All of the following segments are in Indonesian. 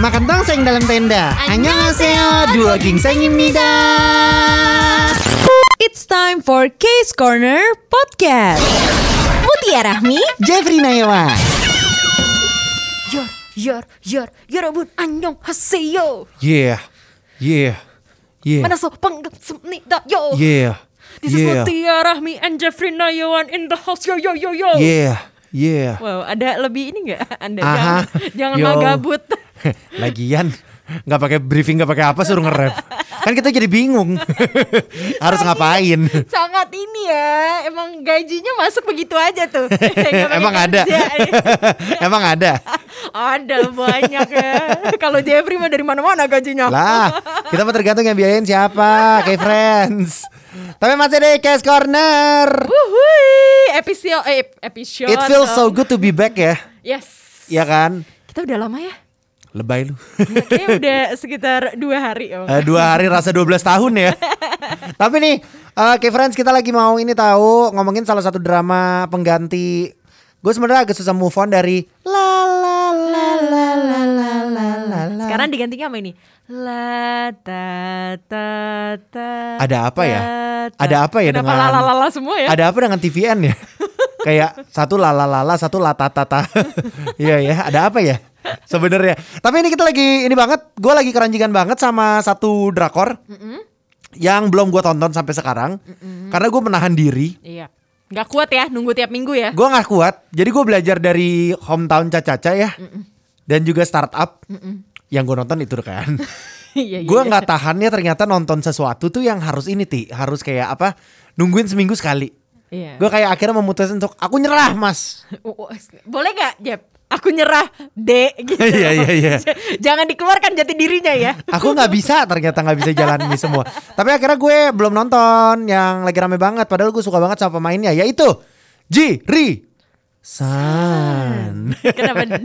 Makan tongseng dalam tenda. Annyeonghaseyo, dua gingsengimnida. It's time for Case Corner Podcast. Mutia Rahmi, Jeffrey Nayawa. 열, 열, 열, 여러분 안녕하세요. Yeah, yeah, yeah, 만나서 반갑습니다. 요. yeah, This is yeah, Mutia Rahmi and Jeffrey Nayawan in the house. Yo yo yo yo. yeah, yeah. Wow, ada lebih ini nggak? Anda Aha. jangan jangan Yo. mau gabut. Lagian nggak pakai briefing nggak pakai apa suruh nge-rap. Kan kita jadi bingung. Harus ngapain? Sangat ini ya, emang gajinya masuk begitu aja tuh. Nggak pakai Emang ada. kerja. iya. Emang ada. ada banyak ya. Kalau Jeffrey mah dari mana-mana gajinya. Lah, kita mah tergantung yang biayain siapa, kayak friends. Tapi masih di Case Corner. Wuhui, episode eh, episode. It feels so good to be back ya. Yes. Iya kan? Kita udah lama ya? Lebay lu. Kayaknya udah sekitar dua hari oh. Eh, dua hari rasa 12 tahun ya. Tapi nih, eh Kay friends kita lagi mau ini tahu ngomongin salah satu drama pengganti. Gue sebenarnya agak susah move on dari la la la la la la la la. la. Nah, Sekarang digantinya sama ini. La ta ta ta. Ada apa ya? ta, ta. Ada apa ya Kenapa dengan- la la la la semua ya? Ada apa dengan TVN ya? Kayak satu la la la la, satu la ta ta ta. Iya ya, ada apa ya? Sebenarnya. Tapi ini kita lagi ini banget, gue lagi keranjingan banget sama satu drakor. Yang belum gue tonton sampai sekarang Karena gue menahan diri Iya. Gak kuat ya nunggu tiap minggu ya. Gue nggak kuat. Jadi gue belajar dari hometown Caca-Caca ya. Dan juga startup. Yang gue nonton itu kan. Iya iya. gue nggak tahannya ternyata nonton sesuatu tuh yang harus ini ti. Harus kayak apa? Nungguin seminggu sekali. Iya. Gue kayak akhirnya memutuskan untuk aku nyerah mas. Oh, oh, Boleh gak Jeb? Aku nyerah D gitu. Iya, iya, iya. J- Jangan dikeluarkan jati dirinya ya. Aku nggak bisa ternyata nggak bisa jalan ini semua. Tapi akhirnya gue belum nonton yang lagi rame banget. Padahal gue suka banget sama pemainnya. Yaitu Jiri San. Kenapa?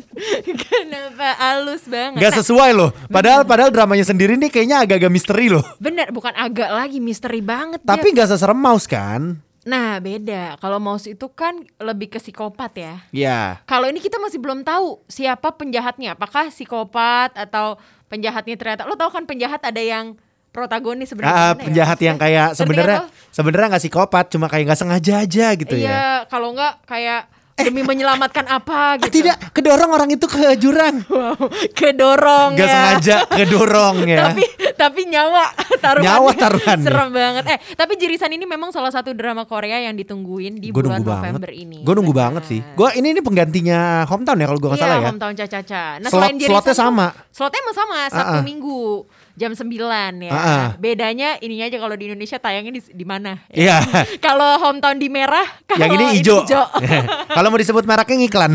kenapa halus banget? Gak Nah, sesuai loh. Padahal padahal dramanya sendiri nih kayaknya agak-agak misteri loh. bener bukan agak lagi misteri banget Jeb. Tapi nggak seserem mouse kan? Nah beda Kalau mouse itu kan lebih ke psikopat ya Ya. Kalau ini kita masih belum tahu siapa penjahatnya, apakah psikopat atau penjahatnya ternyata. Lo tau kan penjahat ada yang Ah, protagonis sebenarnya. gimana ya? penjahat yang kayak Ngerti kan sebenarnya lo? sebenarnya nggak psikopat, cuma kayak nggak sengaja aja gitu Iya, ya. Eh. kalau enggak kayak demi menyelamatkan Ah, apa gitu. tidak, kedorong orang itu ke jurang. Wow, kedorong Nggak ya. sengaja kedorong ya. Tapi tapi nyawa taruhan. Nyawa taruhannya. Serem banget. Eh, tapi Jirisan ini memang salah satu drama Korea yang ditungguin di Gue bulan nunggu November banget. ini. Gue nunggu Benar. banget sih. Gue ini ini penggantinya hometown ya kalau gue nggak Iya, salah ya. hometown Caca-Caca. Nah, Slot- selain Jirisan slotnya tuh- sama. Ah, Slotnya emang sama, Sabtu Ah-ah. Minggu jam 9 ya. Ah-ah. Bedanya ininya aja kalau di Indonesia tayangnya di, di mana? ya. ah. Iya. kalau hometown di merah, kalau yang ini hijau. kalau mau disebut mereknya ngiklan.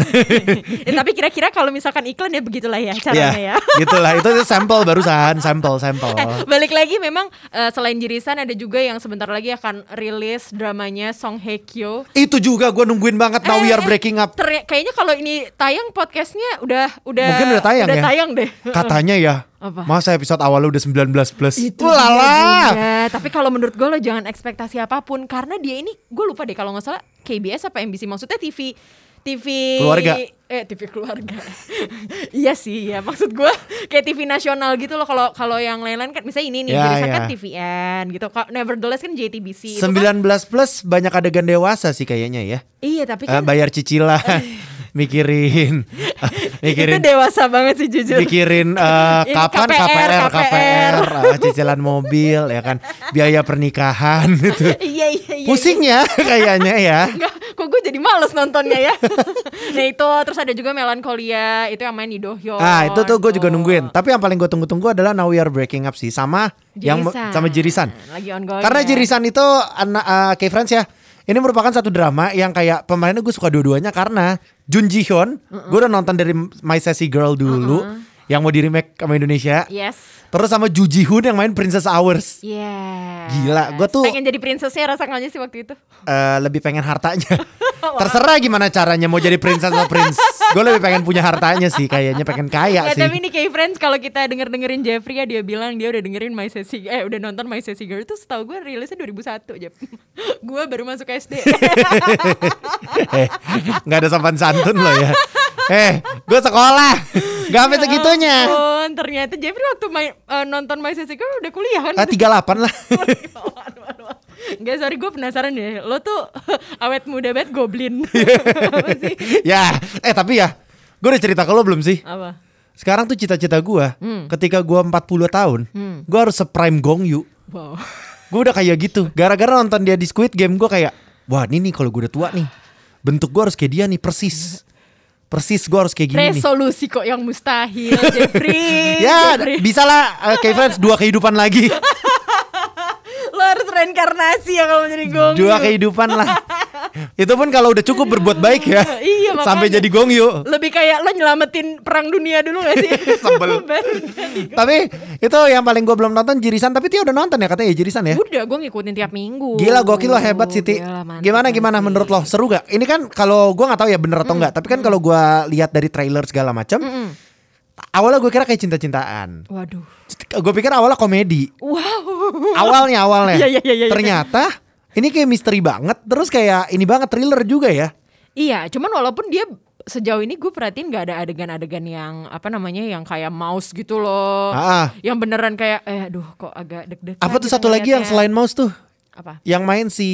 Ya, tapi kira-kira kalau misalkan iklan ya begitulah Iya. ya caranya ya. gitulah. Itu sampel barusan, sampel, sampel. Eh, balik lagi memang eh, selain Jirisan ada juga yang sebentar lagi akan rilis dramanya Song Hye Kyo. Itu juga gue nungguin banget. Now we Eh, are eh, breaking up. ter- kayaknya kalau ini tayang podcastnya udah udah Mungkin udah tayang ya. tayang deh. Katanya ya. Apa? Masa episode awalnya udah 19 plus. Itu dia Ulala. juga. Tapi kalau menurut gue lo jangan ekspektasi apapun karena dia ini gue lupa deh kalau nggak salah KBS apa MBC maksudnya TV TV Keluarga. eh TV keluarga iya sih ya maksud gue kayak TV nasional gitu loh kalau kalau yang lain-lain kan misalnya ini nih Ya, Jirisan ya. kan TVN gitu Kalau Nevertheless kan JTBC itu 19 kan- plus banyak adegan dewasa sih kayaknya ya. iya tapi Eh, kan bayar cicilan, mikirin, itu mikirin, dewasa banget sih jujur mikirin eh, Ini kapan KPR, KPR, KPR, eh, cicilan mobil ya kan, biaya pernikahan gitu. iya iya iya Pusing ya kayaknya ya. Enggak, kok gue jadi males nontonnya ya. nah itu terus ada juga Melankolia itu yang main Lee Do Hyun. Ah itu tuh oh. gue juga nungguin. Tapi yang paling gue tunggu-tunggu adalah Now We Are Breaking Up sih, sama yang Jirisan. sama Jirisan. Lagi ongoing. Karena ya. Jirisan itu anak eh, kayak friends ya. Ini merupakan satu drama yang kayak pemainnya gue suka dua-duanya karena Jun Ji Hyun, gue udah nonton dari My Sassy Girl dulu yang mau di remake sama Indonesia. Iya. Yes. Terus sama Ju Ji Hoon yang main Princess Hours. Yeah. Gila, gua tuh- pengen jadi princessnya rasa nggaknya sih waktu itu. Eh, lebih pengen hartanya. Terserah gimana caranya mau jadi princess atau prince. Gue lebih pengen punya hartanya sih, kayaknya pengen kaya Ya, sih. tapi ini kayak friends kalau kita denger dengerin Jeffrey ya dia bilang dia udah dengerin My Sassy eh udah nonton My Sassy Girl itu setahu gue rilisnya 2001 Jeff. gue baru masuk SD. Eh, nggak ada sopan santun loh ya. Eh, gue sekolah, gak sampai segitunya. Ampun, dan ternyata Jeffrey waktu main- eh, nonton My Sassy Girl udah kuliah kan? Ah, 38 lah. Gak sorry gue penasaran deh Lo tuh awet muda banget goblin Apa sih? ya, eh tapi ya, gue udah cerita ke lo belum sih? Apa? Sekarang tuh cita-cita gua Hmm. ketika gua 40 tahun, gua harus se-prime Gong Yu. Wow Gue udah kayak gitu. Gara-gara nonton dia di Squid Game gue kayak, wah ini nih kalau gue udah tua nih, bentuk gue harus kayak dia nih persis. Persis gue harus kayak gini nih. Resolusi kok yang mustahil Jeffrey Ya, Jeffrey. bisa lah kayak friends dua kehidupan lagi. Lo harus reinkarnasi ya kalau jadi gong Dua kehidupan lah. Itu pun kalau udah cukup berbuat baik ya. Iya, makanya. Sampai jadi Gong Yu. Lebih kayak lo nyelamatin perang dunia dulu gak sih? Sebel. Baru jadi gong. Tapi itu yang paling gue belum nonton Jirisan, tapi dia udah nonton ya katanya ya Jirisan ya. Udah gue ngikutin tiap minggu Gila gokil lo hebat Siti. Gila, mantap Gimana banget gimana sih. menurut lo seru gak? Ini kan kalau gua nggak tahu ya bener Mm, atau enggak, tapi kan kalau gua lihat dari trailer segala macam, awalnya gue kira kayak cinta-cintaan. Waduh Gue pikir awalnya komedi. Wow Awalnya awalnya. Iya, iya, iya, iya. Ternyata ini kayak misteri banget, terus kayak ini banget thriller juga ya. Iya, cuman walaupun dia sejauh ini gue perhatiin gak ada adegan-adegan yang apa namanya yang kayak mouse gitu loh. Ah. Yang beneran kayak eh aduh kok agak deg-degan. Apa tuh gitu satu lagi yang ngeliatnya. selain Mouse tuh? apa? Yang main si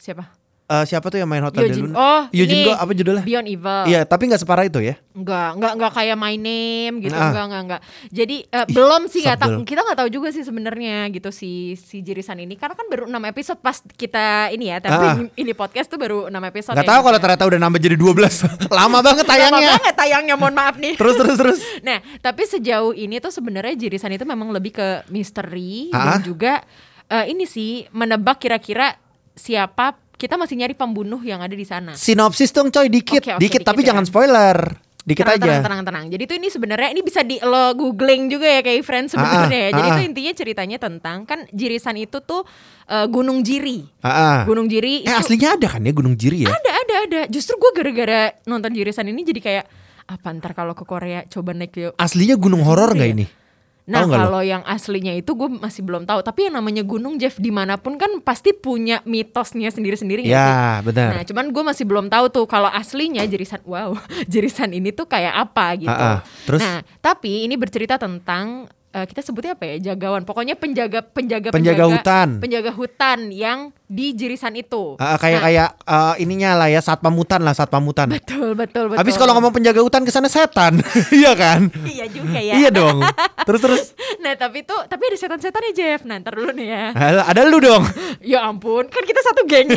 Siapa? eh, siapa tuh yang main Hotel Del Eugene. Luna? Oh, Eugene ini. Go, apa judulnya? Beyond Evil. Iya, tapi nggak separah itu ya. Enggak, enggak enggak kayak my name gitu. Ah. Enggak, enggak, enggak. Jadi eh, belum sih enggak tahu. sebel. Kita enggak tahu juga sih sebenarnya gitu si si Jirisan ini karena kan baru 6 episode pas kita ini ya, tapi Ah. ini podcast tuh baru 6 episode. Nggak ya, tahu gitu kalau ya. ternyata udah nambah jadi 12. Lama banget Lama tayangnya. banget tayangnya, mohon maaf nih. Terus terus terus. Nah, tapi sejauh ini tuh sebenarnya jirisan itu memang lebih ke misteri Ah? dan juga eh, ini sih menebak kira-kira siapa kita masih nyari pembunuh yang ada di sana. Sinopsis dong coy dikit, Oke, oke, dikit, dikit tapi ya. jangan spoiler. Dikit tenang, aja. tenang, tenang, tenang. Jadi tuh ini sebenarnya ini bisa di lo googling juga ya kayak friend sebenarnya. Ah, ya. ah, Jadi ah, itu ah. intinya ceritanya tentang kan jirisan itu tuh eh, Gunung Jiri. Ah, ah. Gunung Eh Jiri itu- aslinya ada kan ya Gunung Jiri ya? Ada ada ada. Justru gue gara-gara nonton jirisan ini jadi kayak apa ntar kalau ke Korea coba naik ke Aslinya gunung horor nggak Iya. ini? Eh, Tahu Nah nggak lo? kalau yang aslinya itu gue masih belum tahu. Tapi yang namanya gunung Jeff dimanapun kan pasti punya mitosnya sendiri-sendiri nggak sih? Ya Nah benar. cuman gue masih belum tahu tuh kalau aslinya jirisan wow jirisan ini tuh kayak apa gitu. Ah, ah. Terus? Nah tapi ini bercerita tentang eh, kita sebutnya apa ya jagawan. Pokoknya penjaga penjaga Penjaga hutan. penjaga hutan yang di jirisan itu. Ah, ah, kayak Nah, kayak eh, ininya lah ya saat pamutan lah saat pamutan. betul betul betul. Habis kalau ngomong penjaga hutan kesana setan, iya kan? iya juga ya. Iya dong. Terus terus. Nah tapi tuh tapi ada setan-setan ya Jeff. Nah ntar dulu nih ya. Hal- Ada lu dong. Ya ampun, kan kita satu geng.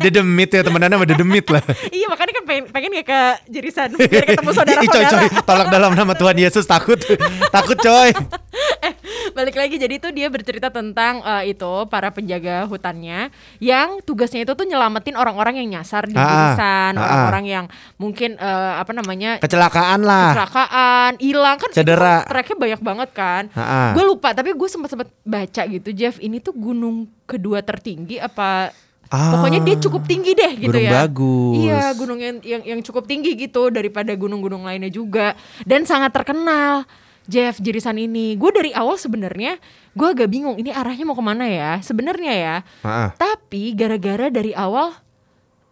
Dedemit ya temenannya sama dedemit lah. iya, makanya kan pengen, pengen gak ke jirisan biar Iya, ketemu saudara-saudara. Iya, Coy, coy, tolak dalam nama Tuhan Yesus takut. takut coy. eh, balik lagi jadi tuh dia bercerita tentang eh, itu para penjaga hutannya yang tugasnya itu tuh nyelamatin orang-orang yang nyasar di Ah, jirisan, ah, ah. orang-orang yang mungkin eh, apa namanya Kecelakaan lah. kecelakaan, hilang kan itu Cedera. tracknya banyak banget kan. Ah, ah. Gue lupa tapi gue sempat sempat baca gitu Jeff ini tuh gunung kedua tertinggi apa Ah, pokoknya dia cukup tinggi deh gitu gunung ya. bagus. Iya gunung yang, yang yang cukup tinggi gitu daripada gunung-gunung lainnya juga dan sangat terkenal. Jeff Jirisan ini, gue dari awal sebenarnya gue agak bingung ini arahnya mau kemana ya sebenarnya ya. Ah, ah. Tapi gara-gara dari awal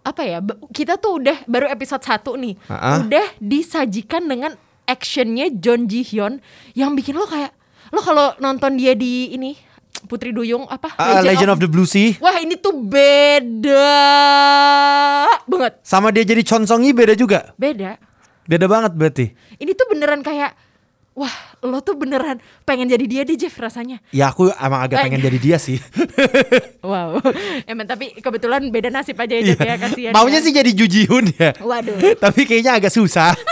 apa ya be- kita tuh udah baru episode 1 nih Ah, ah. udah disajikan dengan actionnya John Ji Hyun yang bikin lo kayak lo kalau nonton dia di ini Putri Duyung apa Ah, Legend of the Blue Sea. Wah ini tuh beda banget Sama dia jadi consongi beda juga. beda Beda banget berarti. ini tuh beneran kayak wah lo tuh beneran pengen jadi dia deh Jeff rasanya Ya aku emang agak Eh. pengen jadi dia sih. wow emang tapi kebetulan beda nasib aja Iya, ya Jeff ya kasihan Maunya ya. sih jadi Jujihun ya. waduh Tapi kayaknya agak susah.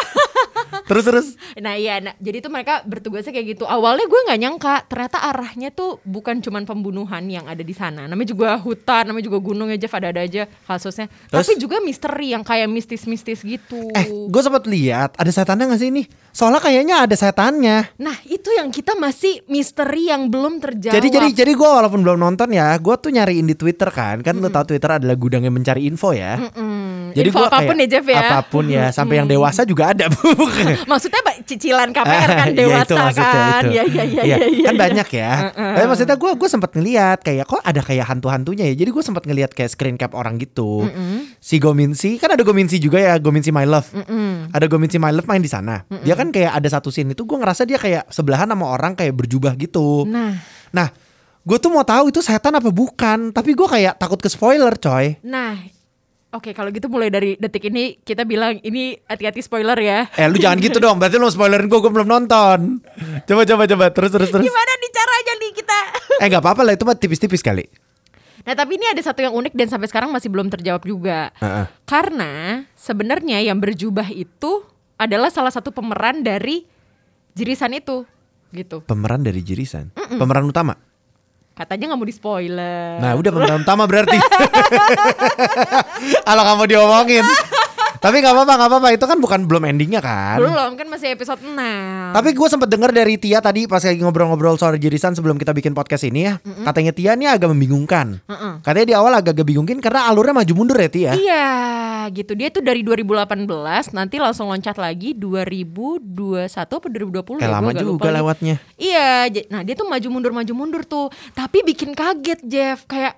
terus terus. Nah iya, nah, jadi tuh mereka bertugasnya kayak gitu. Awalnya gue nggak nyangka, ternyata arahnya tuh bukan cuman pembunuhan yang ada di sana. Namanya juga hutan, namanya juga gunung aja, ada-ada aja kasusnya. Terus? Tapi juga misteri yang kayak mistis-mistis gitu. Eh, gue sempat lihat ada setannya gak sih ini? Soalnya kayaknya ada setannya. Nah itu yang kita masih misteri yang belum terjawab. Jadi jadi jadi gue walaupun belum nonton ya, gue tuh nyariin di Twitter kan, kan lu tahu Twitter adalah gudang yang mencari info ya. Mm-mm. Jadi info gua apapun kayak, ya, Jeff, ya. Apapun ya, sampai yang dewasa juga ada, Bu. Maksudnya Pak, cicilan KPR kan Ya, itu dewasa maksudnya, kan. itu. Ya ya ya Iya, ya. ya, kan ya. banyak ya. Tapi maksudnya gue gue sempat ngeliat kayak kok ada kayak hantu-hantunya ya. Jadi gue sempat ngeliat kayak screen cap orang gitu. Si Gominsi kan ada Gominsi juga ya Gominsi My Love. Ada Gominsi My Love main di sana. Dia kan kayak ada satu scene itu gue ngerasa dia kayak sebelahan sama orang kayak berjubah gitu. Nah. Nah, gue tuh mau tahu itu setan apa bukan. Tapi gue kayak takut ke spoiler coy. Nah, oke kalau gitu mulai dari detik ini kita bilang ini hati-hati spoiler ya. Eh lu jangan gitu dong. Berarti lu mau spoilerin gue, gue belum nonton. Coba coba coba terus terus terus. Gimana nih caranya nih kita? Eh nggak apa-apa lah itu mah tipis-tipis kali. Nah tapi ini ada satu yang unik dan sampai sekarang masih belum terjawab juga. Heeh. Karena sebenarnya yang berjubah itu adalah salah satu pemeran dari jirisan itu, gitu. Pemeran dari Jirisan. Pemeran utama. Katanya nggak mau di spoiler. Nah udah pemeran utama berarti Kalau kamu diomongin Tapi gak apa-apa gak apa-apa Itu kan bukan belum endingnya kan Belum kan masih episode 6 Tapi gue sempet denger dari Tia tadi Pas lagi ngobrol-ngobrol soal jirisan Sebelum kita bikin podcast ini ya Katanya Tia nih agak membingungkan Mm-mm. Katanya di awal agak-agak bingungin Karena alurnya maju mundur ya Tia Iya gitu Dia tuh dari 2018 Nanti langsung loncat lagi 2021 atau Kayak 2020 ya, gua lama agak lupa juga lagi. lewatnya Iya j- Nah dia tuh maju mundur maju mundur tuh Tapi bikin kaget Jeff Kayak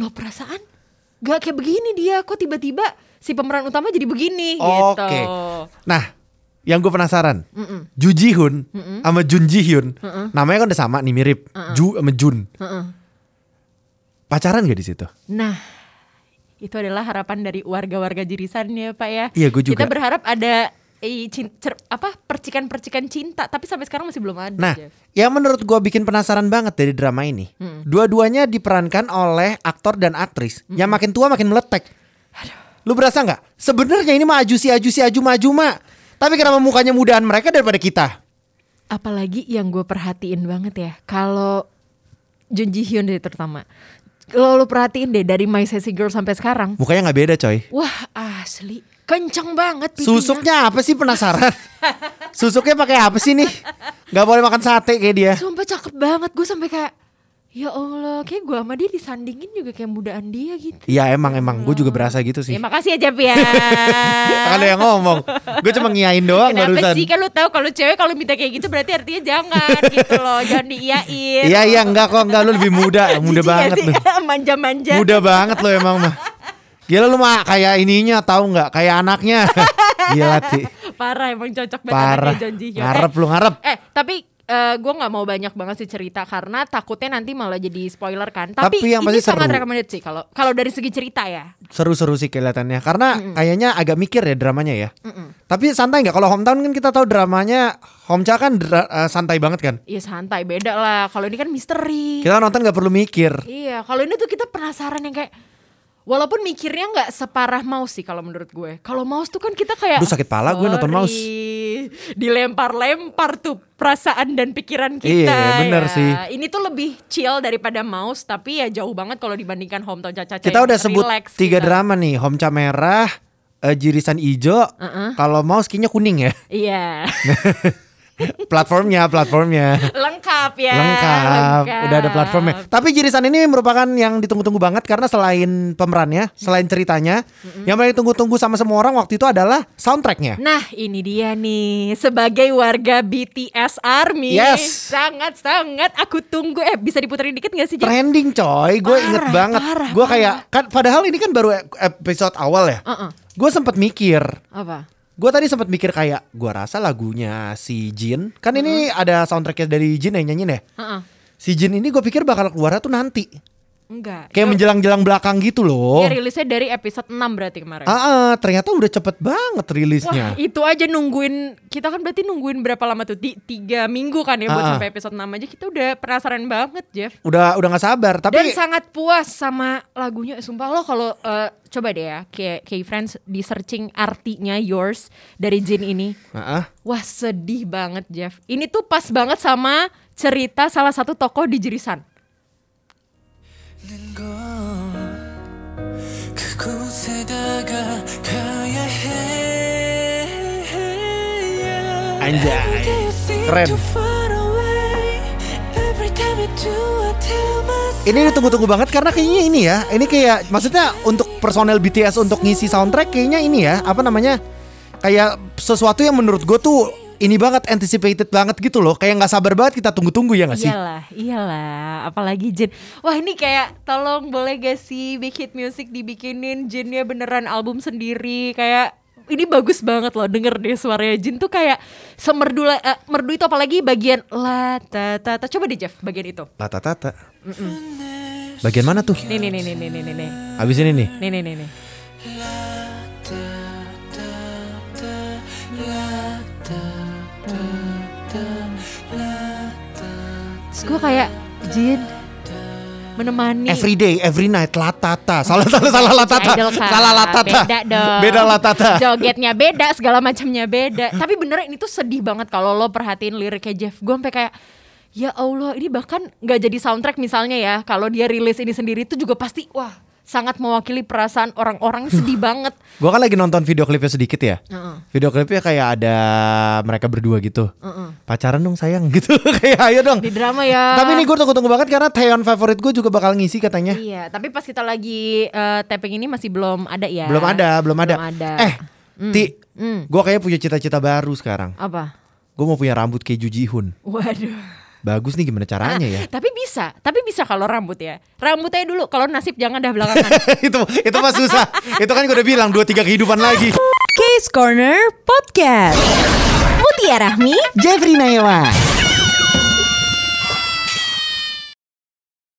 Loh perasaan Gak kayak begini dia Kok tiba-tiba Si pemeran utama jadi begini Oke gitu Nah yang gue penasaran Ju Ji Hoon Sama Jun Ji Hyun Namanya kan udah sama nih mirip Ju sama Jun Heeh. Pacaran gak di situ? Nah itu adalah harapan dari warga-warga Jirisan ya Pak ya. Iya, gua juga. Kita berharap ada eh, cin- cer- apa percikan-percikan cinta tapi sampai sekarang masih belum ada. Nah, Jeff. yang menurut gue bikin penasaran banget dari drama ini, dua-duanya diperankan oleh aktor dan aktris yang makin tua makin meletek. Lu berasa nggak? Sebenarnya ini mah aju si aju si aju maju mak. Tapi kenapa mukanya mudaan mereka daripada kita? apalagi yang gue perhatiin banget ya kalau Jun Ji Hyun deh terutama kalau lo perhatiin deh dari My Sexy Girl sampai sekarang Mukanya nggak beda coy. wah asli kenceng banget pipinya. Susuknya apa sih penasaran? Susuknya pakai apa sih nih? Gak boleh makan sate kayak dia. sumpah cakep banget gue sampai kayak ya Allah kayak gue sama dia disandingin juga kayak mudaan dia gitu Iya emang emang gue juga berasa gitu ya sih. makasih ya Jep ya Ada yang ngomong, gue cuma ngiyain doang Kenapa barusan. sih kan lo tahu kalau cewek kalau minta kayak gitu berarti artinya jangan gitu loh jangan diiyain Iya iya enggak kok enggak lu lebih muda, muda Jijik gak banget sih? lu. manja-manja Muda banget lo emang mah. Gila lu mah kayak ininya tahu nggak? Kayak anaknya. Gila Ti. Parah emang cocok banget Parah. anaknya John Ji Hyun. Ngarep eh, lu ngarep. eh, tapi gue nggak mau banyak banget sih cerita karena takutnya nanti malah jadi spoiler kan. Tapi Tapi, yang ini pasti sangat seru. recommended sih kalau kalau dari segi cerita ya. Seru-seru sih kelihatannya. Karena kayaknya agak mikir ya dramanya ya. Tapi santai nggak? Kalau hometown kan kita tahu dramanya Homcha kan dra- eh, santai banget kan. Iya santai beda lah. Kalau ini kan misteri. Kita nonton nggak perlu mikir. Iya, kalau ini tuh kita penasaran yang kayak walaupun mikirnya nggak separah Maus sih kalau menurut gue. Kalau Maus tuh kan kita kayak Aduh, sakit pala gue nonton Maus. "Sorry." Dilempar-lempar tuh perasaan dan pikiran kita. Iya, bener ya. sih. Ini tuh lebih chill daripada Maus tapi ya jauh banget kalau dibandingkan Hometown Caca Kita udah sebut gitu. tiga drama nih, Homcha merah, eh, jirisan ijo, kalau mau skinya kuning ya. Iya. platformnya, platformnya. lengkap ya. lengkap. Udah ada platformnya. Tapi Jirisan ini merupakan yang ditunggu-tunggu banget karena selain pemerannya, selain ceritanya, yang paling ditunggu-tunggu sama semua orang waktu itu adalah soundtracknya. Nah ini dia nih sebagai warga BTS Army Yes. sangat sangat aku tunggu eh bisa diputerin dikit gak sih Jen? Trending coy, gue Parah, inget banget. parah, Gue parah. kayak kan padahal ini kan baru e- episode awal ya. Uh-uh. Gue sempat mikir, apa? gue tadi sempat mikir kayak gue rasa lagunya si Jin, kan ini Mm-hmm. ada soundtracknya dari Jin yang nyanyiin ya. Uh-uh. Si Jin ini gue pikir bakal keluar tuh nanti, Enggak. kayak Itu- menjelang-jelang belakang gitu loh. Dia rilisnya dari episode 6 berarti kemarin. Ah, ah, ternyata udah cepet banget rilisnya. Wah iya. itu aja nungguin kita kan berarti nungguin berapa lama tuh Ti- tiga minggu kan ya Ah, buat ah. sampai episode 6 aja kita udah penasaran banget Jeff. udah udah nggak sabar tapi Dan sangat puas sama lagunya Sumpah lo kalau eh, coba deh ya kayak kayak friends di searching artinya yours dari Jin ini Heeh. Wah sedih banget Jeff Ini tuh pas banget sama cerita salah satu tokoh di Jirisan 그곳에다가 가야 해. Anjay. Keren. ini ditunggu-tunggu banget karena kayaknya ini ya ini kayak maksudnya untuk personel BTS untuk ngisi soundtrack kayaknya ini ya apa namanya kayak sesuatu yang menurut gue tuh ini banget anticipated banget gitu loh kayak nggak sabar banget kita tunggu-tunggu ya nggak sih Iyalah, iyalah. Apalagi Jin. Wah ini kayak tolong boleh gak sih Big Hit Music dibikinin Jinnya beneran album sendiri kayak ini bagus banget loh denger deh suaranya Jin tuh kayak semerdu la- eh, merdu itu apalagi bagian la ta ta ta coba deh Jeff bagian itu. tata tata bagian mana tuh Nih nih nih nih nih nih nih nih abis ini nih nih nih nih. nih. Terus gue kayak Jin menemani every day every night latata salah salah salah latata Idol, Kak. salah latata Beda dong. beda latata Jogetnya beda, segala macamnya beda. Tapi bener ini tuh sedih banget kalau lo perhatiin liriknya Jeff. Gue sampai kayak ya Allah, ini bahkan nggak jadi soundtrack misalnya ya. Kalau dia rilis ini sendiri tuh juga pasti wah sangat mewakili perasaan orang-orang sedih banget. Gue kan lagi nonton video klipnya sedikit ya. Heeh. Video klipnya kayak ada mereka berdua gitu. Pacaran dong sayang gitu. kayak ayo dong. Di drama ya. Tapi ini gue tunggu-tunggu banget karena Taeyeon favorit gue juga bakal ngisi katanya. Iya, tapi pas kita lagi eh, tapping ini masih belum ada ya. Belum ada, belum ada. Eh, Ti, Hmm. gue kayaknya punya cita-cita baru sekarang. apa? Gue mau punya rambut kayak Ju Hun. Waduh. Bagus nih gimana caranya ya? Ah, Tapi bisa, tapi bisa kalau rambut ya. Rambutnya dulu, kalau nasib jangan dah belakangan. itu itu mah susah. itu kan gue udah bilang dua tiga kehidupan lagi. Case Corner Podcast. Mutia Rahmi Jeffrey Nayawan